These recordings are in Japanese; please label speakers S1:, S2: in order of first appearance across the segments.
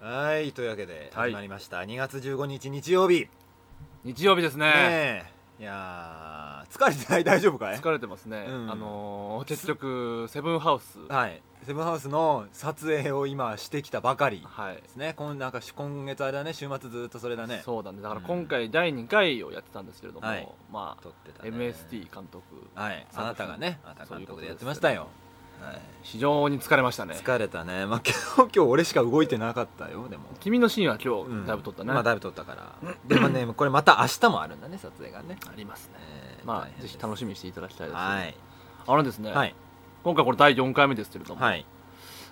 S1: はいというわけで
S2: はい
S1: 始まりました、2月15日日曜日
S2: 日曜日ですね
S1: ねえいやー疲れてない 大丈夫かい
S2: 疲れてますね、
S1: うん
S2: あのー結局セブンハウス
S1: はいセブンハウスの撮影を今してきたばかり
S2: はい
S1: ですね今なんか今月あれだね週末ずっとそれだね
S2: そうだねだから
S1: うん
S2: 今回第2回をやってたんですけれども、
S1: はい
S2: まあ
S1: 撮ってたね
S2: MST 監督
S1: はいあなたがねあなた監督でやってましたよはい
S2: 非常に疲れましたね
S1: 疲れたね、まあ、 今日今日俺しか動いてなかったよでも
S2: 君のシーンは今
S1: うん
S2: 日だいぶ撮ったね、
S1: まあだいぶ撮った からでもねこれまた明日もあるんだね撮影がね、
S2: ありますね
S1: えー
S2: ま
S1: 大
S2: あ
S1: 変
S2: ぜ
S1: です
S2: ひ楽しみにしていただきたいです、
S1: はい
S2: あのですね、
S1: はい
S2: 今回これ第4回目ですけれども、
S1: はい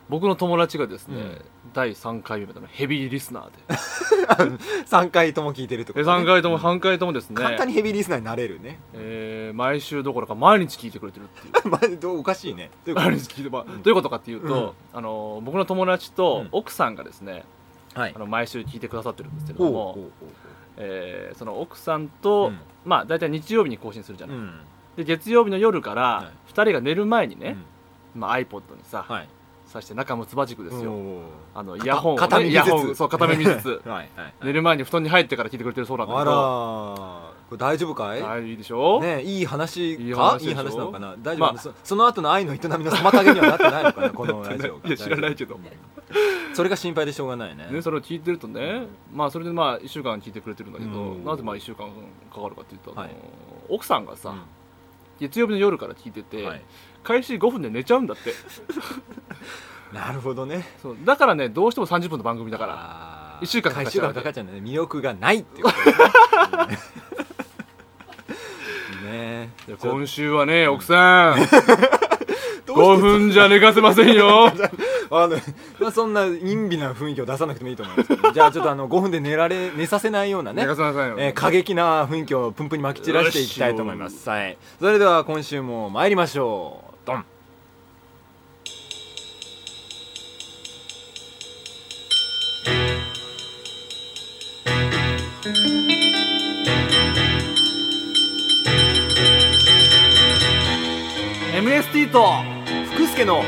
S2: 僕の友達がですね、
S1: うん
S2: 第3回目までのヘビーリスナーで
S1: 3回とも聞いてるってこ
S2: え
S1: と、ね、
S2: 3回とも
S1: うん
S2: 半回ともですね、
S1: 簡単にヘビーリスナーになれるね
S2: えー毎週どころか毎日聞いてくれてるっていう
S1: まあどうおかしいねということ
S2: 毎日聞いて、まあどういうことかっていうと、あの僕の友達と
S1: うん
S2: 奥さんがですね、
S1: はい
S2: あの毎週聞いてくださってるんですけれ
S1: ほ
S2: ど
S1: うほ
S2: も、
S1: うほう
S2: えーその奥さん
S1: ほ
S2: と、
S1: う
S2: まあ大体日曜日に更新するじゃ
S1: うん
S2: ない、
S1: うん
S2: で月曜日の夜か
S1: は
S2: ら2人が寝る前に
S1: う
S2: ね、
S1: ん
S2: まあ、iPod にさ、
S1: はい
S2: さして中むつば軸ですよ、
S1: おー
S2: あのイヤホンを、
S1: 片
S2: ね、
S1: 耳
S2: イ
S1: ず
S2: ヤ
S1: つ
S2: ホンそう片耳ずつ
S1: はいはい
S2: 寝る前に布団に入ってから聞いてくれてるそうなんだけ
S1: あら
S2: ど
S1: ーこれ大丈夫かい、
S2: あいいでしょ、
S1: ねえいい話か
S2: いい話でしょ
S1: いい話なのかな大丈夫、
S2: まあ
S1: そその後の愛の営みの妨げにはなってないのか なこのラジオが
S2: いや知らないけど
S1: それが心配でしょうがないね
S2: ね、それを聞いてるとね、まあ、それでまあ1週間聞いてくれてるんだけど、
S1: うん
S2: なぜまあ1週間かかるかっていうと、あの
S1: はい
S2: 奥さんがさ、
S1: うん
S2: 月曜日の夜から聞いてて、
S1: はい
S2: 開始5分で寝ちゃうんだって
S1: なるほどね
S2: そうだからねどうしても30分の番組だから
S1: ら
S2: 一週間かかっちゃう
S1: かかっちゃうんだね魅力がないっていうことねうん ねえ
S2: いや今週はね奥さ ん5
S1: 5
S2: 分じゃ寝かせません よ
S1: あの、まあ、そんな陰微な雰囲気を出さなくてもいいと思 うんですけど、じゃあちょっとあの5分で寝られ寝させないような
S2: 寝
S1: ね
S2: かせませんよ、
S1: えー過激な雰囲気をプンプンにまき散らしていきたいと思いま
S2: よ
S1: す、はい、それでは今週も参りましょうドン
S2: MST と
S1: 福助の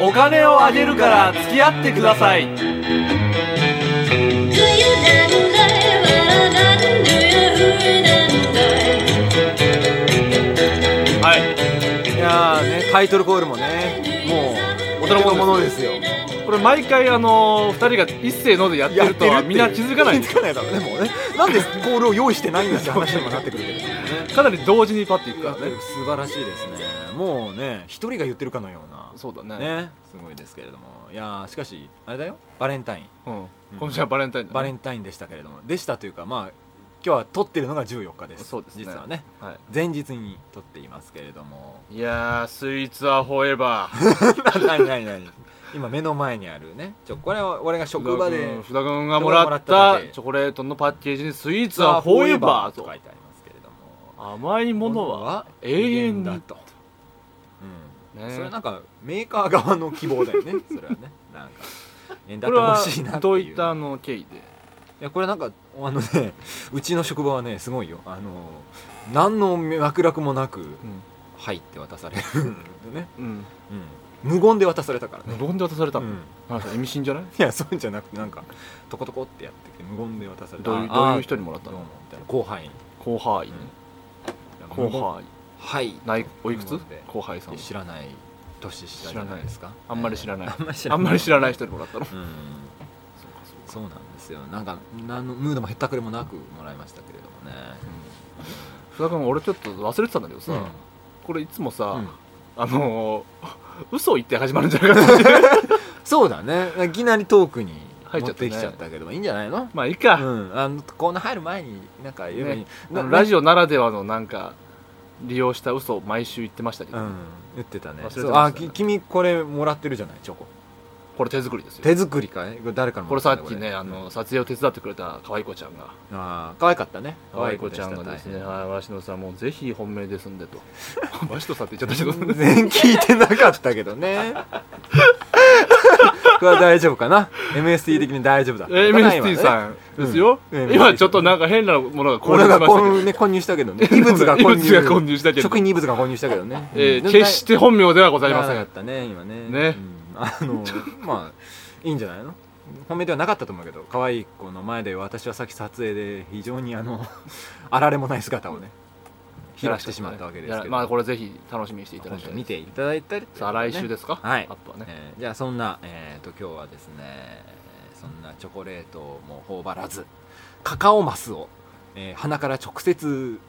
S2: お金をあげるから付き合ってください
S3: 「どゆなんだいわらなんどやうえなんだい」
S2: はい
S1: いやーねタイトルコールもねもうお手の物ですよ
S2: これ毎回あの2人が一斉のでやってるとはみんな気づかな い
S1: 気づかないだろうねもうねなんでコールを用意してないんだって話にもなってくるけど
S2: かなり同時にパッていくからね
S1: 素晴らしいですねもうね一人が言ってるかのような
S2: そうだね
S1: ねすごいですけれどもいやーしかしあれだよバレンタイン
S2: うん、今週はバレンタインだ、ね、
S1: バレンタインでしたけれどもでしたというかまあ今日は撮ってるのが14日です
S2: そうですね
S1: 実はね
S2: は
S1: 前日に撮っていますけれども
S2: い、いやースイーツはフォーエバー
S1: 何何何今目の前にあるねちょこれは俺が職場で
S2: 福田君がもらったチョコレートのパッケージにスイーツはフォーエバー
S1: と
S2: と
S1: 書いてありますけれども
S2: 甘いものは永遠だと、
S1: うん
S2: ね
S1: それなんかメーカー側の希望だよ ねそれはねなんか縁だ
S2: こ
S1: っ
S2: れ
S1: てほ
S2: は
S1: しいなって
S2: どう
S1: い
S2: いうったあの経緯で
S1: いやこれなんかあのねうちの職場はねすごいよあの何の脈絡もなく入って渡されるんでね
S2: うん、
S1: うん、無言で渡されたからね、
S2: 無言で渡された
S1: う
S2: の、
S1: ん
S2: あなた意味深じゃない
S1: いやそういうんじゃなくてなんかトコトコってやってきて無言で渡された
S2: どういう
S1: あー
S2: どういう人にもらった
S1: どう
S2: の
S1: もみたいな後輩
S2: 後輩、後輩
S1: はい
S2: ないおいくつ
S1: 無言で
S2: 後輩さん
S1: 知らない年下じゃないですか
S2: あんまり知らない
S1: あんまり知
S2: あんまり知ら
S1: ない
S2: ない人にもらったの
S1: うん
S2: そうかそ
S1: そ
S2: うか
S1: うなんですよなんか何のムードもへったくれもなくもらいましたけれどもね
S2: 福田君俺ちょっと忘れてたんだけどさ、
S1: うん
S2: これいつもさ、
S1: うん
S2: あのー、嘘を言って始まるんじゃないかな っていう
S1: そうだねいきなりトークに
S2: 入っ
S1: 持っ
S2: ちゃった
S1: て
S2: ね
S1: きちゃったけど、いいんじゃないの
S2: まあいいか、
S1: うん、あのコーナー入る前になんか言えばいい、
S2: ね
S1: な
S2: あのラジオならではのなんか利用した嘘を毎週言ってましたけど、
S1: うん言ってたね
S2: 忘れてました
S1: そうあき君これもらってるじゃないチョコ
S2: これ手作りですよ
S1: 手作りかいこれ誰からも
S2: こ
S1: ら
S2: れ
S1: た
S2: さ
S1: んだ
S2: っきねあの撮影を手伝ってくれた可愛い子ちゃんが
S1: あー可愛かったね
S2: 可愛い子ちゃんがですね「
S1: 可愛い
S2: あわしのさんもうぜひ本命ですん で」と「わしとさ」って言っちゃったけ
S1: 子
S2: ど
S1: でしたね全然聞いてなかったけど ねこれは大丈夫かな MST 的に大丈夫だ
S2: MST さんですよ、
S1: うん
S2: 今ちょっとなんか変なものが
S1: こ
S2: 混入
S1: れ
S2: し
S1: が
S2: ましたけ
S1: 混
S2: ど
S1: 入,、ね、混入したけどね異物が混入
S2: 異物が混入したけど
S1: 食品に異物が混入したけどね、
S2: えー
S1: うん
S2: 決して本名ではございませ
S1: なか
S2: ん
S1: ったね今ね
S2: ね
S1: うんあのまあいいんじゃないの本命ではなかったと思うけど可愛い子の前で私はさっき撮影で非常にあ のあられもない姿をね披露してしまったわけですけど、
S2: まあこれぜひ楽しみにしていただ
S1: 今
S2: き
S1: 度
S2: たい
S1: 見ていただいたりということでね、
S2: さあ来週ですか
S1: はい
S2: アップはね
S1: えーじゃあそんな、えー、と今日はですねえーそんなチョコレートをもう頬張らずカカオマスを、えー鼻から直接、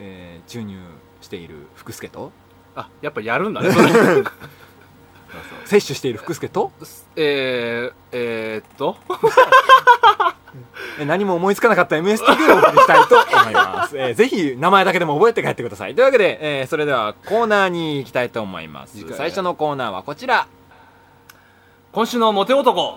S1: えー注入している福助と
S2: あやっぱやるんだねそれ
S1: 摂取している福助と
S2: えー、えー、っと
S1: えー何も思いつかなかった MST でお送りしたいと思います、えーぜひ名前だけでも覚えて帰ってくださいというわけで、えーそれではコーナーに行きたいと思います
S2: 次回
S1: 最初のコーナーはこちら
S2: 今週のモテ男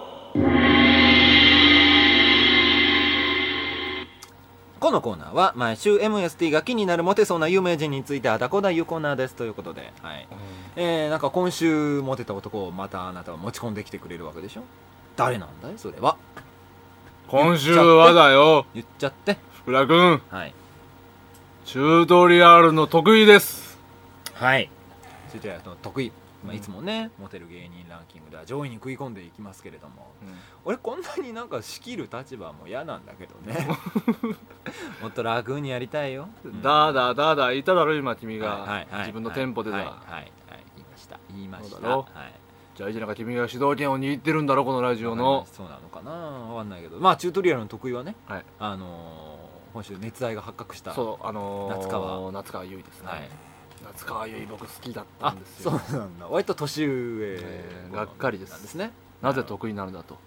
S1: このコーナーは毎週 MST が気になるモテそうな有名人についてあだこだいうコーナーですということで、はいえー、なんか今週モテた男をまたあなたは持ち込んできてくれるわけでしょ誰なんだいそれは
S2: 今週はだよ
S1: 言っちゃって
S2: 福田君
S1: はい
S2: チュートリアルの得意です
S1: はいそれではあの得意、まあ、いつもね、モテる芸人ランキングでは上位に食い込んでいきますけれども俺こんなになんか仕切る立場も嫌なんだけど ねもっと楽にやりたいよ、うん
S2: だーだーだーだー言っただろ今君
S1: は
S2: が
S1: いはいはい
S2: 自分の店舗で
S1: はいはい
S2: だ
S1: はい言いました言いまし
S2: そ
S1: た
S2: うだろ
S1: はい
S2: 大事なか君が主導権を握ってるんだろこのラジオ
S1: わかりま
S2: の
S1: すそうなのかなわかんないけどまあチュートリアルの得意はね、
S2: はい
S1: あのー今週熱愛が発覚した
S2: そうあのー、
S1: 夏川
S2: 夏川優衣ですね、
S1: はい、
S2: 夏川優衣僕好きだった
S1: あ
S2: んです
S1: そう
S2: よ
S1: なんだ割と年上
S2: えーがっかりです
S1: なんですね
S2: なぜ得意なのだと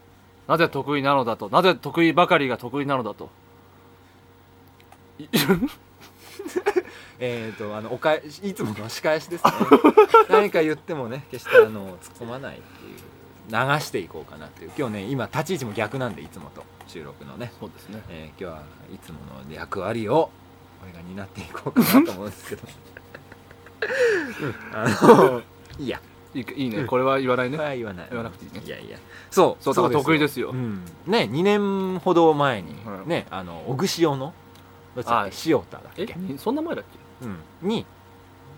S2: なぜ得意なのだとなぜ得意ばかりが得意なのだとい
S1: えっ、とあのおかえいつもの仕返し ですね何か言ってもね決してあの突っ込まないっていう流していこうかなっていう今日ね今立ち位置も逆なんでいつもと収録のね、
S2: そうですね
S1: えー今日はいつもの役割を俺が担っていこうかなと思うんです けどうんあのいいや
S2: いいいいねこれは言わないね、
S1: それは言わない
S2: 言わなくていいね
S1: いやいやそう
S2: そうだから得意ですよ
S1: う、ん、ね2年ほど前に、
S2: はい
S1: ねあの小串用のどっちだっけ塩田だっ
S2: え
S1: け、
S2: そんな前だっけ
S1: うん、に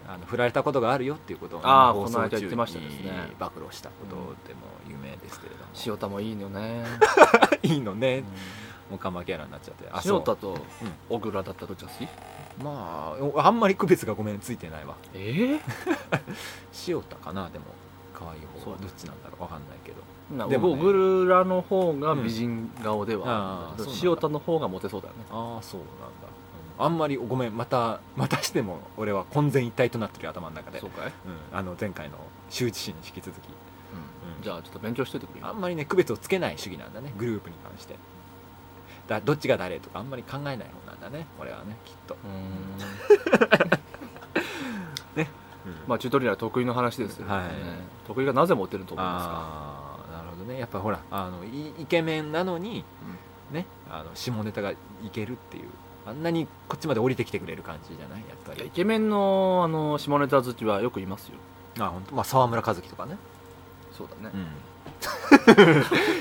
S1: あの振られたことがあるよっていうことをね、
S2: あー
S1: 放送
S2: この間
S1: 中
S2: 言ってましたですね
S1: に暴露したことでも有名ですけれども、
S2: 塩田もいいのね、
S1: いいのね、
S2: うん
S1: もうカマキャラになっちゃって
S2: 塩
S1: そう
S2: 田と小倉だったらどっちが好き
S1: まあおあんまり区別がごめんついてないわ
S2: え
S1: 塩田かなでも可愛い方
S2: そう
S1: はどっちなんだろうわかんないけど
S2: えな
S1: でもね
S2: 小倉の方が美人顔では
S1: うんあ、あ
S2: け
S1: そ
S2: ど
S1: うなんだ
S2: 塩田の方がモテそうだよね
S1: ああそうなんだ、うんあんまりごめんまたまたしても俺は混然一体となってるよ頭の中で
S2: そうか
S1: う
S2: い、
S1: ん、あの前回の周知心に引き続き
S2: じゃあちょっと勉強しといてくれよ
S1: あんまりね区別をつけない主義なんだねグループに関してだどっちが誰とかあんまり考えない方なんだね俺はねきっと、
S2: うーん
S1: ま
S2: まあチュートリアル得意の話ですよね、
S1: はい
S2: 得意がなぜモテると思いま
S1: ああなるほどねやっぱほらあのいイケメンなのに、ねあの下ネタがいけるっていうあんなにこっちまで降りてきてくれる感じじゃないやっぱ
S2: すかイ
S1: り
S2: ケメンのあの下ネタ好きはよくいますよ
S1: あ本当まあ沢村和樹とかね
S2: そうだね、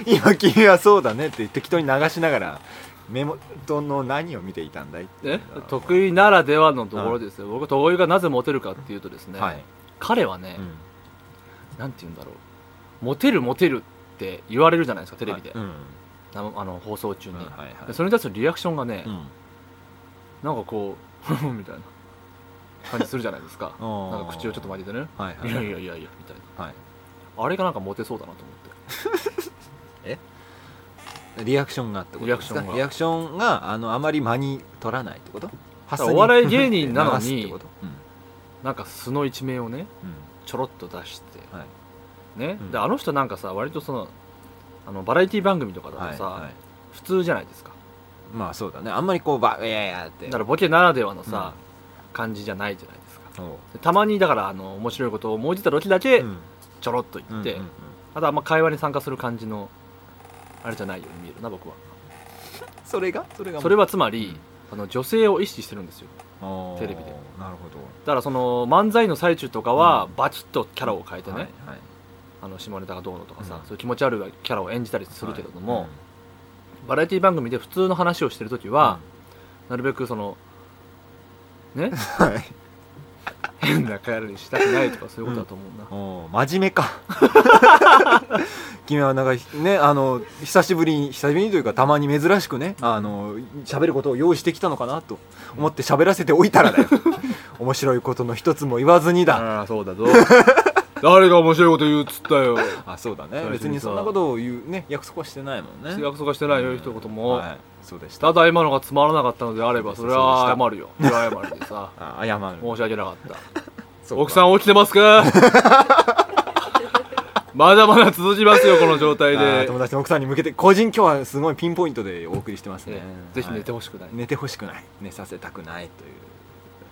S1: 今君はそうだねって適当に流しながらメモとの何を見ていたんだいってい
S2: え
S1: うのは
S2: 得意ならではのところですよ、僕得意がなぜモテるかっていうとですね、
S1: はい、
S2: 彼はね、
S1: うん
S2: なんて言うんだろうモテるモテるって言われるじゃないですかテレビで、
S1: うん
S2: あのあの放送中に、
S1: うんはいはい
S2: でそれに対するリアクションがね、
S1: うん
S2: なんかこう みたいな感じするじゃないで すかなんか口をちょっと
S1: 待
S2: 開けてね
S1: ってはい
S2: い
S1: はい
S2: やいやいやいやみたい
S1: はい
S2: なあれがなんかモテそうだなと思って
S1: リアクションがってことですか
S2: リアクションが
S1: リアクションがあのあまり間に取らないってこと
S2: だからお笑い芸
S1: い
S2: 人なのに
S1: うん
S2: なんか素の一面をね
S1: う
S2: ちょろっと出して、
S1: んはい
S2: ね
S1: うん
S2: であの人なんかさ割とそのあのバラエティ番組とかだ
S1: は
S2: と
S1: い
S2: さ、
S1: はい
S2: 普通じゃないですか
S1: まあそうだねあんまりこうばいやいやって
S2: だからボケならではのさ、感じじゃないじゃないですか
S1: おう
S2: でたまにだからあの面白いことを思いついた時だけ
S1: うん
S2: ちょろっと言って、
S1: うんうんうん
S2: あとあんま会話に参加する感じのあれじゃないように見えるな僕は
S1: それがそれが
S2: それはつまり、あの女性を意識してるんですよ
S1: おー
S2: テレビで
S1: なるほど
S2: だからその漫才の最中とかは、
S1: うん
S2: バチッとキャラを変えてね、
S1: はいはい
S2: あの下ネタがどうのとかさ、
S1: うん
S2: そういう気持ち悪いキャラを演じたりするけれども、
S1: はい
S2: バラエティ番組で普通の話をしてる時は、なるべくそのね
S1: うんはい
S2: 変なカエルにしたくないとかそういうことだと思うな、
S1: おー真面目か 君はなんかねあの久しぶりに久しぶりにというかたまに珍しくねあの喋ることを用意してきたのかなと思って喋らせておいた らだよ面白いことの一つも言わずに だ
S2: ああそうだぞ 誰が面白いこと言うっつったよ
S1: あそうだね
S2: 最初にさ
S1: 別にそんなことを言うね約束はしてないもんね
S2: 約束してないよ一言も、
S1: はい、そうでした
S2: ただ今のがつまらなかったのであればそれは謝るよそれは謝るでさ
S1: あ謝る
S2: 申し訳なかった
S1: そうか
S2: 奥さん起きてま すかまだまだ続きますよこの状態
S1: あー
S2: で
S1: 友達の奥さんに向けて個人今日はすごいピンポイントでお送りしてますね
S2: ねぜひ寝て
S1: はい
S2: ほしくない、
S1: 寝てほしくない寝させたくないとい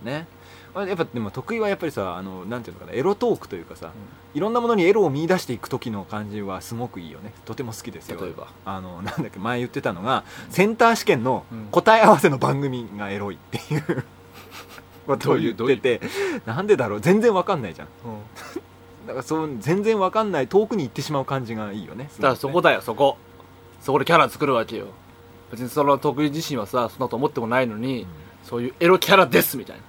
S1: うねあやっぱでも得意はやっぱりさあのなんていうのかなエロトークというかさ、いろんなものにエロを見出していく時の感じはすごくいいよねとても好きですよ
S2: 例えば
S1: あのなんだっけ前言ってたのがセンター試験の
S2: うん
S1: 答え合わせの番組がエロいっていう ことを言っ
S2: どうい
S1: て
S2: う
S1: てなんでだろう全然わかんないじゃんだからそう全然わかんない遠くに行ってしまう感じがいいよねす
S2: だか
S1: ごく
S2: ら
S1: ね
S2: そこだよそこそこでキャラ作るわけよ別にその得意自身はさそんなと思ってもないのに、そういうエロキャラですみたいな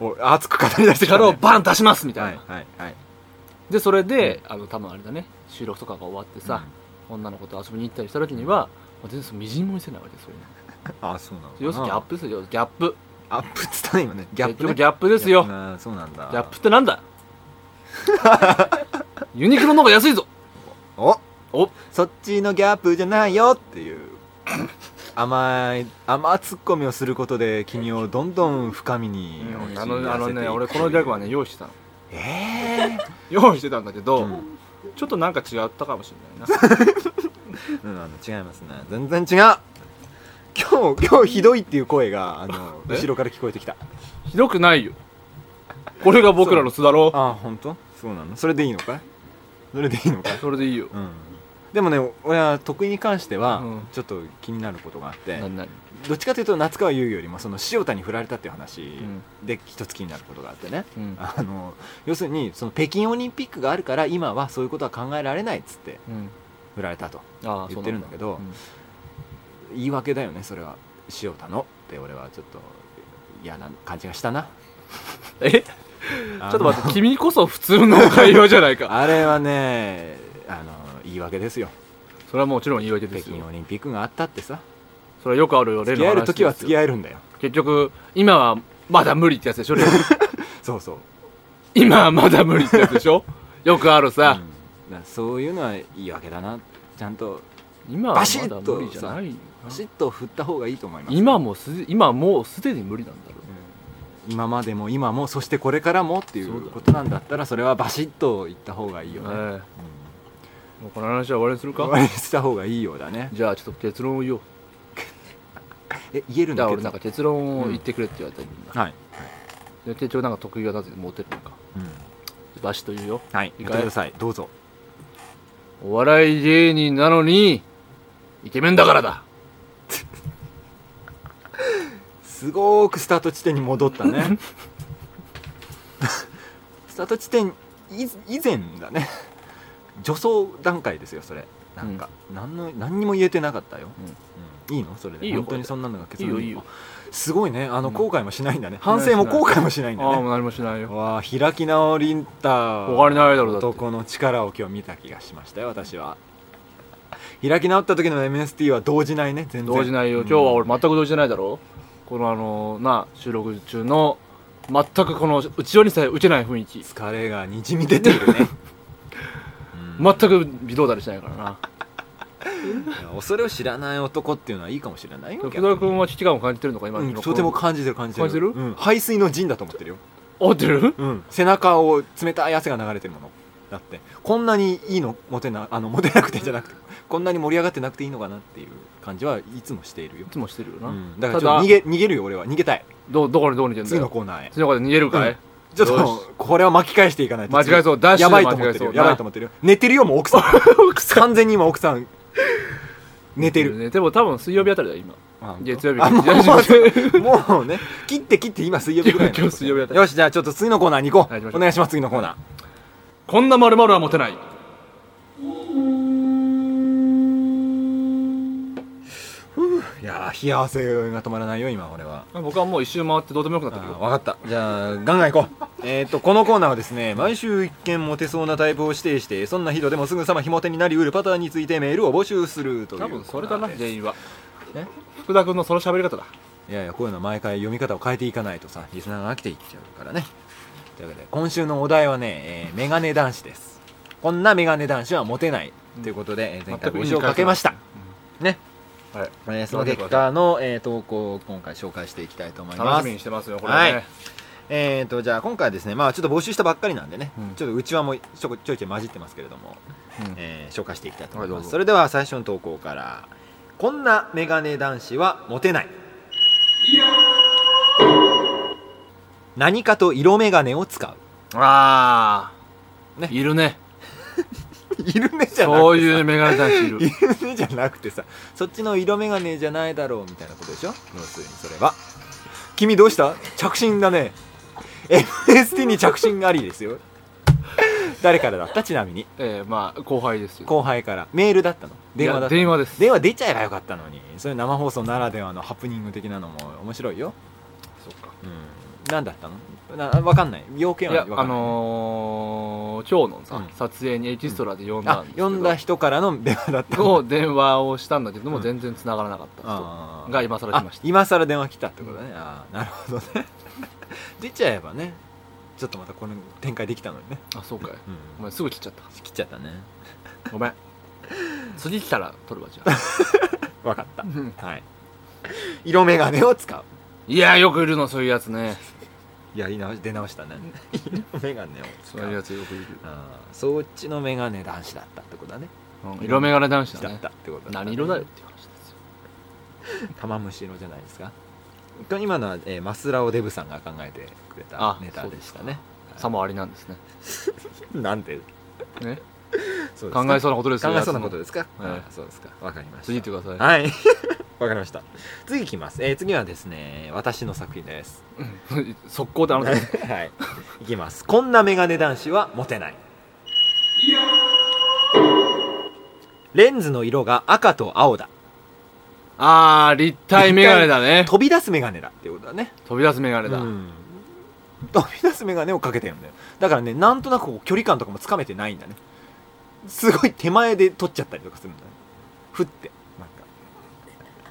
S1: お熱く語り出して
S2: キ
S1: きた
S2: ャ
S1: ね
S2: ラをバン出しますみたいな、
S1: はいはいはい
S2: でそれで、あの多分あれだね収録とかが終わってさ、女の子と遊びに行ったりした時にはもう全然そのみじんも見せないわけですよね
S1: あそうなのかな
S2: 要するにギャップですよギャップ
S1: アップっつったね今ねギャップ、
S2: 結
S1: ね、
S2: 局ギャップです
S1: ギャ
S2: よ
S1: ップがそうなんだ
S2: ギャップってなんだ ユニクロの方が安いぞ
S1: お
S2: お
S1: そっちのギャップじゃないよっていう甘い甘ツッコミをすることで君をどんどん深みに陥ら
S2: あ
S1: せていく
S2: のあのね俺このギャグはね用意してたの
S1: ええ
S2: 用意してたんだけど、
S1: うん
S2: ちょっとなんか違ったかもしれないな
S1: ーうん、あの違いますね全然違う今日今日ひどいっていう声があの
S2: え
S1: 後ろから聞こえてきた
S2: ひどくないよこれが僕らの巣だろ
S1: あ本当そうなのそれでいいのかいそれでいいのかい
S2: それでいいよ
S1: うんでもね俺は得意に関しては
S2: うん
S1: ちょっと気になることがあって、
S2: 何何
S1: どっちかというと夏川優よりもその塩田に振られたっていう話
S2: ん
S1: で一つ気になることがあってね、
S2: うん
S1: あの要するにその北京オリンピックがあるから今はそういうことは考えられないっつって
S2: うん
S1: 振られたと
S2: ああ
S1: 言ってるんだけど言い訳だよねそれは塩田のって俺はちょっと嫌な感じがしたな
S2: え
S1: ち
S2: ちょっと待って君こそ普通の会話じゃない か
S1: あれはねあの言い訳ですよ
S2: それはもちろん言い訳で
S1: 北
S2: すよ
S1: 京オリンピックがあったってさ
S2: それはよくあるよ例
S1: 付き
S2: の
S1: 合え
S2: 話
S1: る
S2: です
S1: 時
S2: よ
S1: は付き合えるんだよ
S2: 結局今はまだ無理ってやつでしょ例の
S1: そうそう
S2: 今はまだ無理ってやつでしょよくあるさ、
S1: うんだからそういうのは言い訳だなちゃんと
S2: 今は
S1: バシ
S2: ま
S1: ッ
S2: だ
S1: と
S2: 無理じゃないよ
S1: パシッと振った方がいいと思います
S2: 今もす今もうすでに無理なんだろ
S1: うん今までも今もそしてこれからもってい
S2: そうだ
S1: う
S2: ね
S1: ことなんだったらそれはバシッと言った方がいいよね、
S2: う、え
S1: う
S2: えもうこの話は終わりにする
S1: ん、終わ
S2: か
S1: りにした方がいいようだね
S2: じゃあちょっと結論を言おう
S1: え言えるん
S2: じ
S1: だ
S2: ゃあ
S1: け
S2: 俺
S1: ど
S2: なんか結論を言ってくれって言われたらみんな、
S1: はい、
S2: で結局なんか得意がなぜモテるのか
S1: うん、
S2: バシッと言うよ
S1: はい
S2: いい
S1: 言
S2: か
S1: っ
S2: い
S1: てくださいどうぞ
S2: お笑い芸人なのにイケメンだからだ
S1: すごーくスタート地点に戻ったね スタート地点い以前だね助走段階ですよそれなんか、なん、の何にも言えてなかったよ、うんいいのそれで
S2: いいよ
S1: 本当にそんなのが
S2: いい
S1: 結論
S2: よ
S1: に
S2: いいよ
S1: すごいねあの
S2: うん
S1: 後悔もしないんだね、
S2: ない
S1: 反省も後悔もしないんだ
S2: ああ
S1: ね
S2: もう何もしないよ
S1: わあ開き直りんた
S2: 他にないだろうだって
S1: 男の力を今日見た気がしましたよ私は開き直った時の MST は動じないね全然
S2: 動じないよ今日は俺全く動じてないだろこのあのな収録中の全くこの内輪にさえ受けない雰囲気
S1: 疲れがにじみ出てい るね、うん
S2: 全く微動だりしないからない
S1: や恐れを知らない男っていうのはいいかもしれないよ
S2: 福田君は危機感を感じてるのか今
S1: う
S2: の
S1: ん、
S2: この
S1: とても感じてる感じてる
S2: 感じてる
S1: うん、排水の陣だと思ってるよ、
S2: 合ってる
S1: うん、背中を冷たい汗が流れてるものだってこんなにいいのモテなあのモテなくてじゃなくてこんなに盛り上がってなくていいのかなっていう感じはいつもしているよ
S2: い、つもしてるよな、
S1: うん、だからち
S2: た
S1: ょっ
S2: だ
S1: と逃げ逃げるよ俺は逃げたい
S2: どどこにどうにてんだ
S1: 次の
S2: よ
S1: コーナーへ
S2: 次の子で逃げるかい、
S1: うんちょっ
S2: よし
S1: とこれは巻き返していかないと
S2: 間違えそうダッシ
S1: や
S2: ュで
S1: ばいと思ってる
S2: 間違えそう
S1: よ
S2: な
S1: やばいと思ってるよ寝てるよもう 奥さん完全に今奥さん寝てる
S2: ねでも多分水曜日あたりだよ今
S1: あ
S2: 月曜日
S1: あも
S2: 月曜日
S1: う もうね切って切って今水曜日ぐらいの
S2: 今日水曜日だった
S1: よしじゃあちょっと次のコーナーに行こ
S2: はい行きまし
S1: う
S2: ょ
S1: お
S2: う
S1: 願いします次のコーナ
S2: こんなまるはモテない
S1: ーいやー冷や汗が止まらないよ今俺は
S2: まあ僕はもう一周回ってどうでもよくなったけ
S1: 分
S2: ど
S1: かったじゃあガンガン行こう えっとこのコーナーはですね毎週一見モテそうなタイプを指定してそんな人でもすぐさまひも手になりうるパターンについてメールを募集するという
S2: 多分それだな
S1: コーナーです
S2: 全員は
S1: ね
S2: 福田君のその喋り方だ
S1: いやいやこういうの毎回読み方を変えていかないとさリスナーが飽きていっちゃうからねというわけで今週のお題はね、えーメガネ男子ですこんなメガネ男子はモテないということで、えー前回募集をかけましたね
S2: はい
S1: えーその結果の、えー投稿を今回紹介していきたいと思います
S2: 楽しみにしてますよこれは
S1: はい
S2: ね
S1: えー、とじゃあ今回はですね、まあ、ちょっと募集したばっかりなんでね、
S2: うん
S1: ちょっとうちわもちょこちょいちょい混じってますけれども、
S2: うん
S1: えー紹介していきたいと思い
S2: はい
S1: ま
S2: どう
S1: す
S2: ぞ
S1: それでは最初の投稿から「こんなメガネ男子はモテない」何かと色眼鏡を使う
S2: ああ、
S1: ね
S2: いるね
S1: いるねじゃな
S2: そう
S1: くて
S2: いうメガネ 男子いる
S1: いるねじゃなくてさそっちの色眼鏡じゃないだろうみたいなことでしょ要するにそれは君どうした着信だね MST に着信ありですよ誰からだったちなみに
S2: ええまあ後輩ですよ
S1: 後輩からメールだったの電話だった
S2: いや電
S1: の
S2: 話です
S1: 電話出ちゃえばよかったのにそういう生放送ならではのハプニング的なのも面白いよ、
S2: そっか
S1: うん、何だったのな分かんない要件
S2: い
S1: は
S2: や
S1: 分か
S2: あ
S1: んない、
S2: のー、今日のさ、
S1: うん
S2: 撮影にエキストラで呼んだ
S1: あ
S2: んですけど、
S1: 呼 んだ人からの電話だったの
S2: を電話をしたんだけども、
S1: うん
S2: 全然繋がらなかった人
S1: あー
S2: が今更来ました
S1: あ今更電話来たってことね、ああなるほどね 出ちゃえばねちょっとまたこの展開できたのにね、
S2: あそうかいお
S1: う
S2: 前すぐ切っちゃった
S1: ん、切っちゃったね
S2: ごめん次来たら撮るわじゃあ
S1: 分かった
S2: うん
S1: はい色眼鏡を使う
S2: いやよくいるのそういうやつね
S1: いやり直し出直したね色眼鏡を使
S2: そうういうやつよくいる、
S1: あーそっちのメガネ男子だったってことだね。
S2: うん色眼鏡男子
S1: だ
S2: だ
S1: っ
S2: ね
S1: たってことね
S2: 何色だよっ。ていう話ですよ
S1: 玉虫色じゃないですか。今のは、えーマスラオデブさんが考えてくれた
S2: あ
S1: ネタでしたね。
S2: さもありなんですね
S1: なんで
S2: ね
S1: そうですか
S2: 考えそうなことです
S1: 考
S2: よ
S1: えそうなこと
S2: や
S1: で
S2: つの
S1: すか。
S2: はい
S1: あーそうですか。わかりました。
S2: 次行ってください、
S1: はい。 わかりました。次いきます。えー次はですね、私の作品です。
S2: うん 速攻であの
S1: はい。いきます。こんなメガネ男子はモテない。レンズの色が赤と青だ。
S2: ああ立体眼鏡 だね
S1: 飛び出すメガネだっていうことだね。
S2: 飛び出す眼鏡だ、
S1: うん飛び出す眼鏡をかけてるんだよだからねなんとなくこう距離感とかもつかめてないんだねすごい手前で撮っちゃったりとかするんだねふってなんか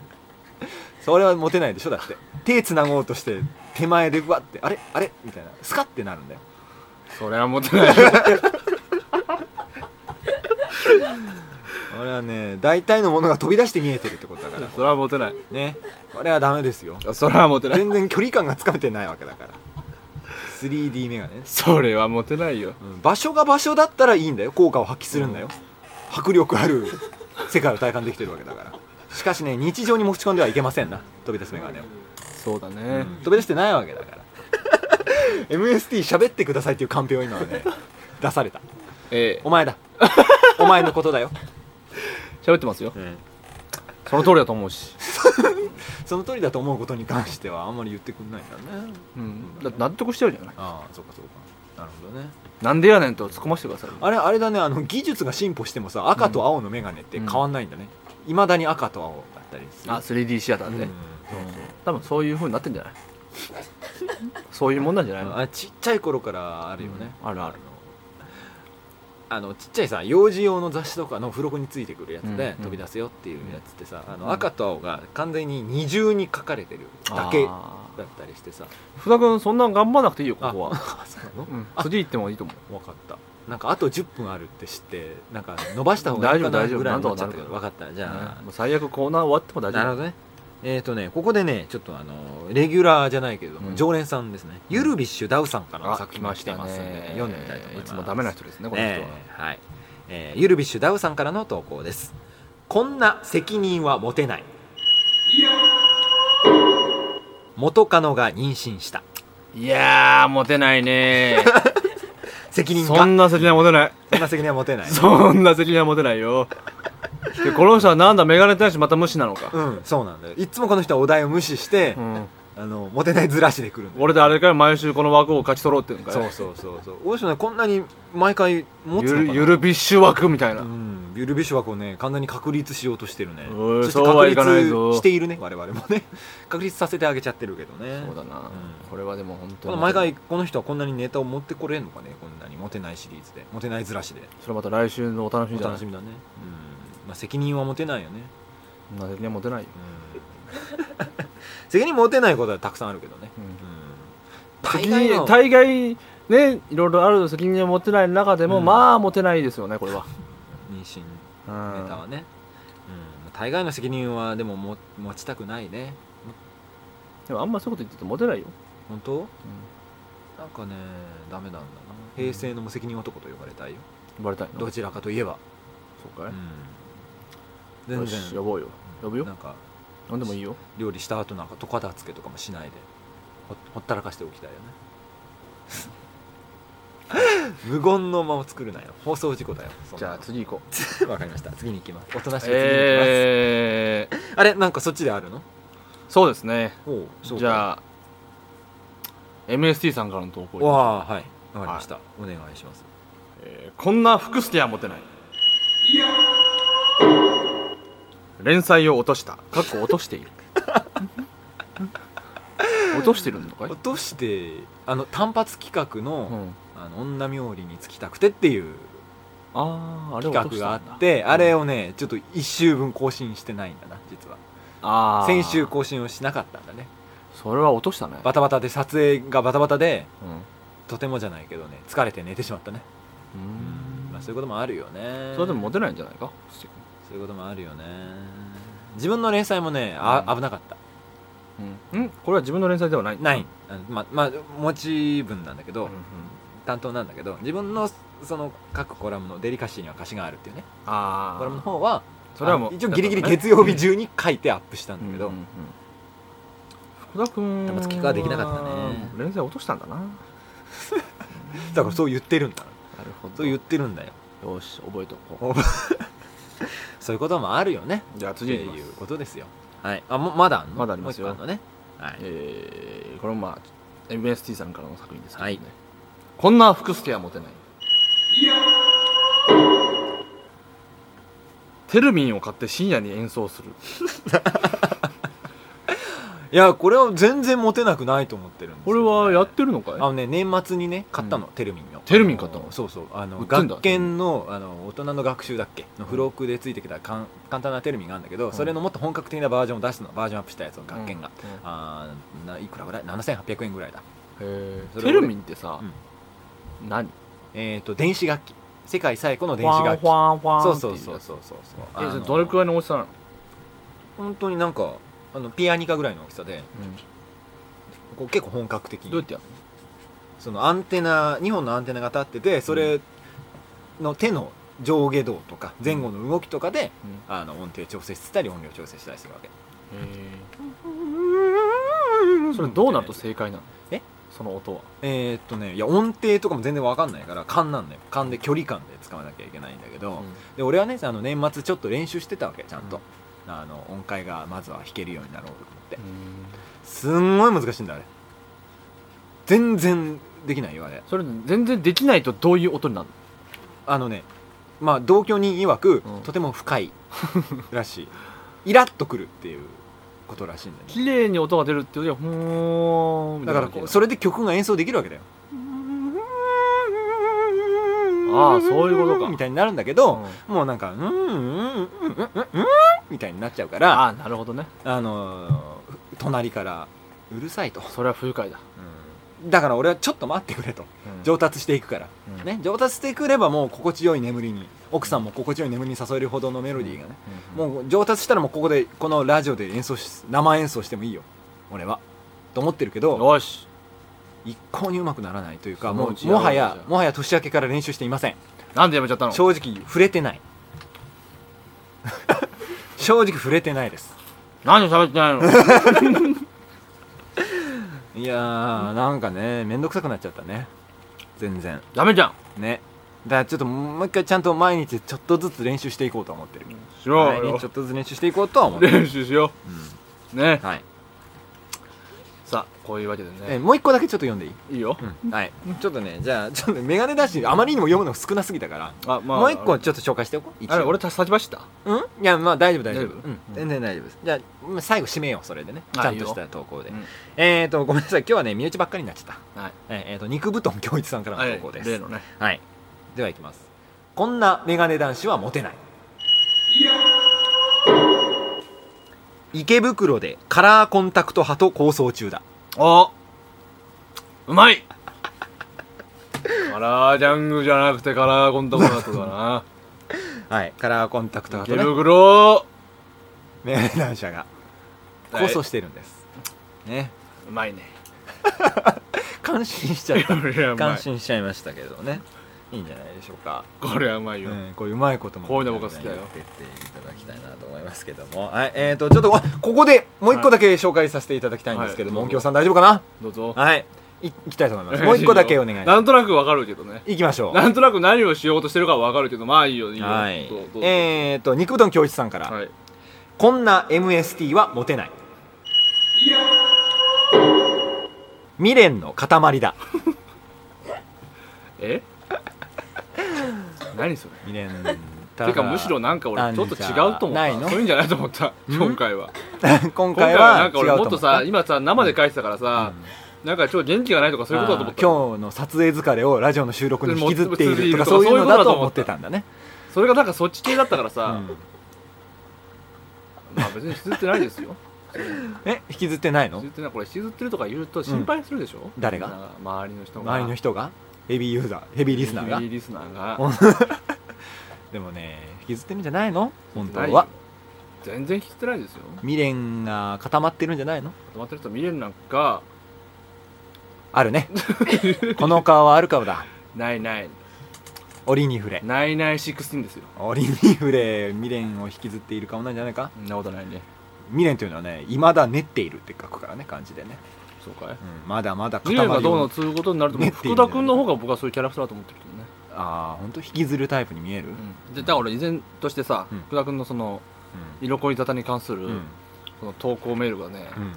S1: それはモテないでしょだって手つなごうとして手前でうわってあれあれみたいなスカってなるんだよ
S2: それは持ってないよ
S1: あれはね大体のものが飛び出して見えてるってことだから
S2: それは持てない
S1: ねこれはダメですよ
S2: それは持てない
S1: 全然距離感がつかめてないわけだから 3D メガネね
S2: それは持てないよ
S1: うん場所が場所だったらいいんだよ効果を発揮するんだよ、迫力ある世界を体感できてるわけだからしかしね日常に持ち込んではいけませんな飛び出すメガネを、
S2: そうだね、
S1: うん飛び出してないわけだから MST 喋ってくださいっていうカンペを今はね出された
S2: ええ
S1: お前だお前のことだよ、
S2: 喋ってますよその通りだと思うし、
S1: その通りだと思うことに関してはあんまり言ってくんないんだね
S2: うん、だって納得してるじゃない
S1: ああそうかそうかなるほどね
S2: なんでやねんと突っ込ませてくださいよ
S1: あれあれだねあの技術が進歩してもさ赤と青の眼鏡って変わんないんだねいま、未だに赤と青だったりする
S2: あ 3D シアターで、
S1: うん
S2: 多分そういう風になってんじゃない そういうもんなんじゃないの
S1: あちっちゃい頃からあるよね、
S2: うんあるある
S1: あのちっちゃいさ幼児用の雑誌とかの付録についてくるやつで
S2: うん
S1: 飛び出すよっていうやつってさ、あ
S2: うん
S1: の赤と青が完全に二重に書かれてるだけだ
S2: あー
S1: ったりしてさ
S2: 福田君そんなん頑張らなくていいよここは、
S1: あ そうなの
S2: うん、次行ってもいいと思う
S1: 分かったなんかあと10分あるって知ってなんか伸ばした方がいいかな
S2: 大丈夫大丈夫
S1: ぐらいになっちゃったけ
S2: なん
S1: ど分
S2: と
S1: かったじゃあ、
S2: ねもう最悪コーナー終わっても大
S1: なる
S2: 丈
S1: ほどねえっ、とねここでねちょっとあのレギュラーじゃないけれども、
S2: うん
S1: 常連さんですねゆるびっしゅダウさんから
S2: 夫
S1: の
S2: あ
S1: 作
S2: 来
S1: 品が
S2: ま
S1: 来
S2: してた
S1: ますんで、
S2: ね
S1: 読んでみたいと思い
S2: い
S1: ます
S2: つもダメな人ですねこの人は、
S1: ええはい、えーゆるびっしゅダウさんからの投稿ですこんな責任は持てない元カノが妊娠した
S2: いやーモテないね
S1: 責任が
S2: そ
S1: そん
S2: んな責任は持てない
S1: な責任は持てない
S2: そんな責任は持てないよでこの人はなんだメガネ大使また無視なのか、
S1: うんそうなんだよいつもこの人はお題を無視して、
S2: うん、
S1: あのモテないずらしでくるんだよ
S2: 俺であれから毎週この枠を勝ち取ろうっていうのかい
S1: そうそうそうそう大島こんなに毎回持つ
S2: ゆ
S1: のか
S2: る
S1: な
S2: ゆるビッシュ枠みたいな、
S1: うんゆるびし枠をね完全に確立しようとしてるね
S2: おい
S1: そして
S2: そうはいかない
S1: 確
S2: ぞ
S1: 立しているね我々もね 確立させてあげちゃってるけどね
S2: そうだな、
S1: ん
S2: これはでも本
S1: こ
S2: 当
S1: の
S2: に
S1: 毎回この人はこんなにネタを持ってこれんのかねこんなにモテないシリーズでモテないずらしで
S2: それまた来週のお楽しみ
S1: お
S2: じゃな
S1: 楽し
S2: い
S1: みだねうん、まあ、責任は持てないよね、
S2: なぜにはモテないよ、
S1: うん 責任持てないことはたくさんあるけどね、
S2: うん
S1: うん、大
S2: 責
S1: 概
S2: 任
S1: の
S2: 大概ねいろいろある責任を持ってない中でも、
S1: うん
S2: まあ持てないですよねこれは、
S1: 妊娠
S2: う
S1: ネタ
S2: ん
S1: はね、うん、大概の責任はでもも持ちたくないね
S2: でもあんまそういうこと言ってるとモテないよ、
S1: 本当
S2: うん、
S1: なんかねダメなんだな平成の無責任男と呼ばれたいよ
S2: 呼ばれたいの
S1: どちらかといえば、
S2: そう
S1: う
S2: かい、
S1: ん、全
S2: よ
S1: 然
S2: し呼ぼうよ呼ぶよ
S1: なんか
S2: 何でもいいよ
S1: 料理した後なんかとかだつけとかもしないでほほったらかしておきたいよ ね無言の間を作るなよ放送事故だよそん
S2: じ
S1: な
S2: ゃあ次行こう
S1: わかりました次に行きますおとなしく次に行きます、
S2: えー、
S1: あれなんかそっちであるの
S2: そうですね
S1: おうそう
S2: じゃあ MST さんからの投稿
S1: あわあはいわかりました、お願いします
S2: えーこんな服捨ては持てない連載を落としたかっこ落としている 落としてるのかい
S1: 落、としてあの単発企画の,、
S2: うん、
S1: あの女冥利につきたくてっていう
S2: あああれ落
S1: 企
S2: と
S1: 画
S2: し
S1: があ
S2: たんだ
S1: ってあれをねちょっと1週分更新してないんだな実は
S2: あー
S1: 先週更新をしなかったんだね
S2: それは落としたね、
S1: バタバタで撮影がバタバタで
S2: う
S1: とてもじゃないけどね疲れて寝てしまったね、
S2: ん
S1: まあ、そういうこともあるよね
S2: それでもモテないんじゃないか
S1: そういうこともあるよね自分の連載もねあ
S2: うん
S1: 危なかった
S2: うん、うん、これは自分の連載ではない
S1: ないあのままあ持ち分なんだけ
S2: う
S1: ど、
S2: んうん
S1: 担当なんだけど自分のその各コラムのデリカシーには貸しがあるっていうね
S2: ああ
S1: コラムの方は
S2: それはもう
S1: あ一応ギリギリ月曜日中に書いてアップしたんだ
S2: だ
S1: け
S2: け
S1: ど、
S2: ど、福田君
S1: 玉突きができなかった
S2: 連載落としたんだなな
S1: だからそう言ってるんだ
S2: るほど
S1: そう言ってるんだよ
S2: よし覚えておこ
S1: そういうこともあるよね
S2: うじゃあ
S1: って
S2: 次に
S1: いうことですよはいあもまだあんの
S2: まだありますよ
S1: もう一個あんのねはい
S2: えーこれもまあ MST さんからの作品ですけどね、
S1: はい
S2: こんな福助は持てないテルミンを買って深夜に演奏する
S1: いやこれは全然モテなくないと思ってるんです
S2: こ
S1: よ
S2: れはやってるのかい
S1: あのね年末にね買ったの、テルミンの
S2: テルミン買ったの
S1: あそうそうあの
S2: 売ってんだ
S1: 学研のあの大人の学習だっけの付録でついてきたかん簡単なテルミンがあるんだけど、
S2: ん
S1: それのもっと本格的なバージョンを出すのバージョンアップしたやつの学研が、
S2: うんうん
S1: あーないくらぐらい7800円ぐらいだ
S2: へー
S1: それ
S2: テ
S1: 俺
S2: ルミンってさ、何
S1: えっ、と電子楽器世界最古の電
S2: ファ
S1: 子
S2: ン
S1: 楽器
S2: ファンファン
S1: そうそうそうそうそうそう
S2: えそれ
S1: あの
S2: どれくらいの大きさなの、
S1: 本当になんかあのピアニカぐらいの大きさでこう結構本格的
S2: どうや
S1: に
S2: ってやる
S1: そのアンテナ2本のアンテナが立っててそれの手の上下動とか前後の動きとかで、あの音程調整したり音量調整したりするわけ
S2: の、へーそれどうなると正解なの
S1: え
S2: その音は
S1: えーっとねいや音程とかも全然わかんないから勘なんだよ勘で距離感で使わなきゃいけないんだけど、で俺はねあの年末ちょっと練習してたわけちゃんと、あの音階がまずは弾けるようになろうと思って、
S2: うん
S1: すんごい難しいんだあれ全然できないよあれ
S2: それ全然できないとどういう音になる
S1: あのねまあ同居人曰く、
S2: うん
S1: とても深いらしい イラッとくるっていうことらしいんだよね
S2: 綺麗に音が出るっていうよりはふーんみた
S1: だ
S2: い
S1: か
S2: な
S1: ら
S2: 感じ
S1: こうそれで曲が演奏できるわけだよ
S2: ああそういうことか
S1: みたいになるんだけ
S2: う
S1: ど
S2: ん、
S1: もうなんか「うんうんうんうんうんうんうん」みたいになっちゃうから
S2: あ
S1: あ、
S2: あなるほどね
S1: のー隣から「うるさいと」
S2: それは不愉快だ、
S1: だから俺はちょっと待ってくれと上達していくから、
S2: うん
S1: ね、上達してくればもう心地よい眠りに奥さんも心地よい眠りに誘えるほどのメロディーがね、
S2: もう
S1: もう上達したらもうここでこのラジオで演奏し生演奏してもいいよ俺はと思ってるけど
S2: よし
S1: 一向にうまくならないという
S2: そ
S1: か
S2: の
S1: も
S2: うち
S1: う
S2: やろ
S1: も
S2: う
S1: はや
S2: じゃあ
S1: もはや年明けから練習していません
S2: なんでやめちゃったの
S1: 正直触れてない 正直触れてないです
S2: 何を喋って ないの
S1: いやーなんかね面倒くさくなっちゃったね全然
S2: ダメじゃん
S1: ねだからちょっともう一回ちゃんと毎日ちょっとずつ練習していこうと思ってる
S2: しよ
S1: 来
S2: う
S1: 年
S2: よ
S1: ちょっとずつ練習していこうとは思ってる、
S2: 練習しよ
S1: うん
S2: うね
S1: はい
S2: さあこういうわけで
S1: え
S2: ね
S1: もう一個だけちょっと読んでいい
S2: いいよ、
S1: はい、ちょっとねじゃあちょっとメガネだしあまりにも読むの少なすぎたから、
S2: あま
S1: もう一個ちょっと紹介しておこう一応
S2: あれ俺た先走った
S1: うんいやまあ大丈夫大丈夫
S2: 大丈夫
S1: うん、全然大丈夫ですじゃあまあ最後締めようそれでねち
S2: あ
S1: ゃんとした投稿で、
S2: うん
S1: えっ、とごめんなさい今日はね身内ばっかりになっちゃった、
S2: はい
S1: えーえーと肉布団恭一さんからの投稿です、
S2: 例のね
S1: はい、ではいきますこんなメガネ男子はモテない池袋でカラーコンタクト派と構想中だ
S2: あうまいカラージャングじゃなくてカラーコンタクトだったかな
S1: はいカラーコンタクト
S2: 池
S1: 派とね
S2: 袋
S1: メガネ男子が構想してるんです、ね
S2: うまいね
S1: 感心しちゃっ
S2: いや
S1: た
S2: うまい
S1: 感心しちゃいましたけどねいいんじゃないでしょうか
S2: これはうまいよ、
S1: うんこういううまいことも
S2: こういうの僕は好きだよ
S1: 言ってっていただきたいなと思いますけどもはいえー、とちょっとあここでもう一個だけ紹介させていただきたいんですけども、
S2: はい
S1: 音響さん大丈夫かな
S2: どうぞ
S1: はいいいきたいと思いますもう一個だけお願いしま
S2: なんとなくわかるけどね
S1: すいきましょう
S2: なんとなく何をしようとしてるかはわかるけどまあいいよいいよ、
S1: はい
S2: どうどうぞ
S1: えー、と肉うどん教室さんから、
S2: はい
S1: こんな MST はモテない未練の塊だ
S2: え何それ
S1: 未練
S2: てかむしろなんか俺ちょっと違うと思っ
S1: ないの
S2: たそういうんじゃないと思った
S1: ん
S2: 今回は
S1: 今
S2: 今回
S1: 回
S2: はな
S1: は違
S2: ん
S1: う
S2: か
S1: と
S2: 俺
S1: 思
S2: も
S1: う
S2: っとさ今さ生で書いてたからさ、なんかちょっと元気がないとかそういうことだと思った
S1: あー今日の撮影疲れをラジオの収録に引きずっているとか
S2: そ
S1: そうう
S2: い
S1: いうう
S2: こ
S1: の
S2: と
S1: だ
S2: だと
S1: と
S2: 思
S1: 思
S2: っ
S1: ったてたんだね、
S2: それがなんかそっち系だったから
S1: う
S2: さ、
S1: ん
S2: まあ別に引きずってないですよ
S1: え引きずってない
S2: 引 き
S1: の
S2: ずってないこれ引きずってるとか言うと心配するでしょ、
S1: 誰が
S2: みんな周りの人が
S1: 周りの人がヘビーユーザーヘビーリスナーが
S2: ヘビーリスナーが
S1: 本でもね引きずってるんじゃないの本当
S2: ない
S1: は
S2: よ全然引きずってないですよ
S1: 未練が固まってるんじゃないの
S2: 止まってる人見れるなんか
S1: あるねこの顔はある顔だ
S2: ないない
S1: 折に触れ
S2: ないない16ですよ
S1: 折に触れ未練を引きずっている顔なんじゃないか
S2: そんなことないね
S1: 未練というのはねいまだ練っているって書くからね漢字でね、
S2: そうかい
S1: うん、まだまだ
S2: 見
S1: 固
S2: れ
S1: ま
S2: ば
S1: り
S2: どう
S1: を
S2: のつうことになると思
S1: ね
S2: う
S1: っていう
S2: 福
S1: んだよ
S2: 田君の方が僕はそういうキャラクターだと思ってるけどね
S1: ああ本当引きずるタイプに見える、
S2: うんでだから俺依然としてさ、
S1: うん
S2: 福田君のその
S1: う
S2: 色恋沙汰に関する、
S1: ん
S2: その投稿メールがね、
S1: うん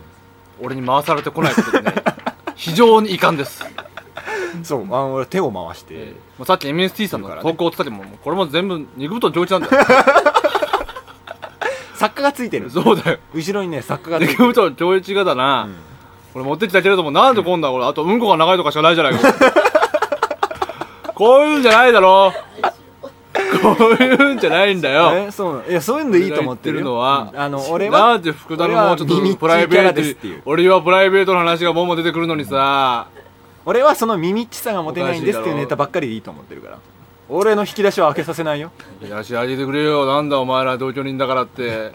S2: 俺に回されてこないことでね 非常に遺憾です、
S1: そうあの俺手を回して、
S2: えーもうさっき MST さんの
S1: だからね
S2: 投稿をつったけども、もうこれも全部肉太上一なんだ よ
S1: 作家がついてる
S2: そうだよ
S1: 後ろにね作家がついて
S2: 肉
S1: る、
S2: 太上一がだな、
S1: うん
S2: これ持ってきたけれどもなんでこんな俺あとうんこが長いとかしかないじゃないか こういうんじゃないだろこういうんじゃないんだよ
S1: え そうなのいやそういうのでいいと思ってるよ
S2: のは、
S1: うんあの俺
S2: な
S1: は
S2: んで福田のもうちょっ
S1: 俺は耳っち
S2: と
S1: い
S2: プライベ
S1: キャラ
S2: ート
S1: です
S2: に
S1: っていう
S2: 俺はプライベートの話がもうも出てくるのにさ
S1: 俺はその耳っちさが持てないんですっていうネタばっかりでいいと思ってるから俺の引き出しは開けさせないよ
S2: 出し上げてくれよなんだお前ら同居人だからって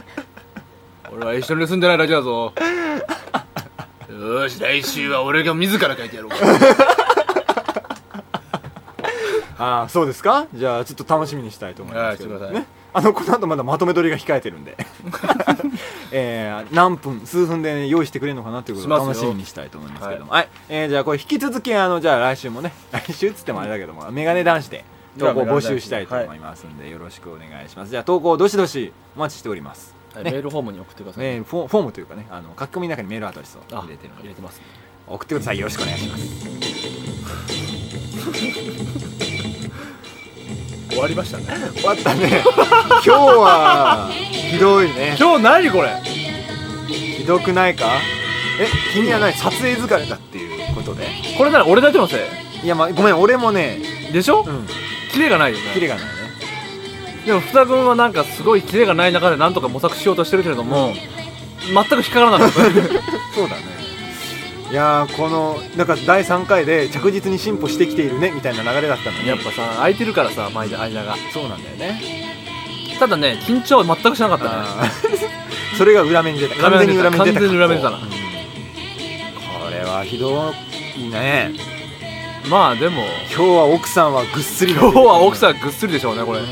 S2: 俺は一緒に住んでないだけだぞよーし来週は俺が自ら書いてやろうか
S1: ああそうですかじゃあちょっと楽しみにしたいと思いますけど、
S2: はいしてください
S1: ねあのこの後まだまとめ撮りが控えてるんで、 えー何分数分で、ね、用意してくれるのかなということを
S2: しま
S1: 楽
S2: す
S1: し
S2: よ
S1: みにしたいと思いますけどもはい、えーじゃあこれ引き続きあのじゃあ来週もね来週っつってもあれだけどもメガネ男子で投稿募集したいと思いますんで、よろしくお願いしますじゃあ投稿どしどしお待ちしております、ね
S2: メールフォームに送ってください、
S1: ね、フォフォームというかねあの書き込みの中にメールアドレスを
S2: あ
S1: 入れてるの
S2: 入
S1: で
S2: れてます
S1: 送ってくださいよろしくお願いします
S2: 終わりましたね
S1: 終わったね 今日はひどいね
S2: 今日何これ
S1: ひどくないかえ君はない撮影疲れだっていうことで
S2: これなら俺だけのせ
S1: いやまあごめん俺もね
S2: いでしょ、
S1: うん
S2: キレがないよ
S1: キレ
S2: ね
S1: がないね
S2: でも福田君はなんかすごいキレがない中でなんとか模索しようとしてるけれども、全く引っかからな かった
S1: そうだねいやーこのなんか第3回で着実に進歩してきているねみたいな流れだったのに
S2: やっぱさ空いてるからさ前間間が
S1: そうなんだよね
S2: ただね緊張は全くしなかったね
S1: あーそれが裏目に出た完全に裏目に出た
S2: 完全に裏目に出たな
S1: うんこれはひどいね
S2: まあでも
S1: 今日は奥さんはぐっすり
S2: 今日は奥
S1: ん、
S2: さんぐっすりでしょうねこれ、
S1: グ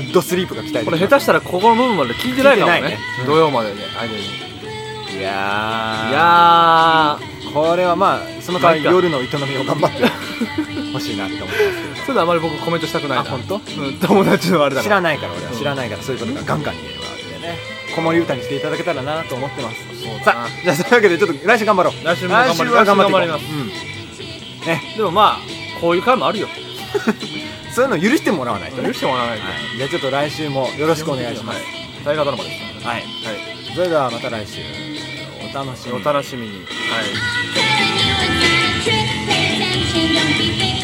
S1: ッドスリープが期待
S2: こ
S1: で
S2: れ
S1: き
S2: 下手したらここの部分まで聞いてないかもね
S1: 聞いてないねうん
S2: 土曜までね間にい
S1: 手いやー
S2: や
S1: これはまあその代わり
S2: なんか
S1: 夜の営みを頑張 ってほしいなって思います
S2: ーそういうのあまり僕コメントしたくないな
S1: あ本当
S2: うん友達のあれだ
S1: 知
S2: からら
S1: ないから俺は
S2: うん
S1: 知らないからそういうことがガンガン言えるわけでねね子守歌にしていただけたらなと思ってます
S2: そうだ
S1: さ
S2: な
S1: あじゃあそういうわけでちょっと来週頑張ろう
S2: 来週も頑張り
S1: は頑張っていこう
S2: 来週頑張り
S1: うんね
S2: でもまあこういう回もあるよ
S1: そういうの許してもらわないとね、
S2: 許してもらわないと
S1: はい、じゃあちょっと来週もよろしくお願いします
S2: はい大河ドラマですからね
S1: はい、それではまた来週お楽しみ
S2: お
S1: に
S2: 楽しみにはい
S3: Telling you it's not a trick, pay attention, don't be fake.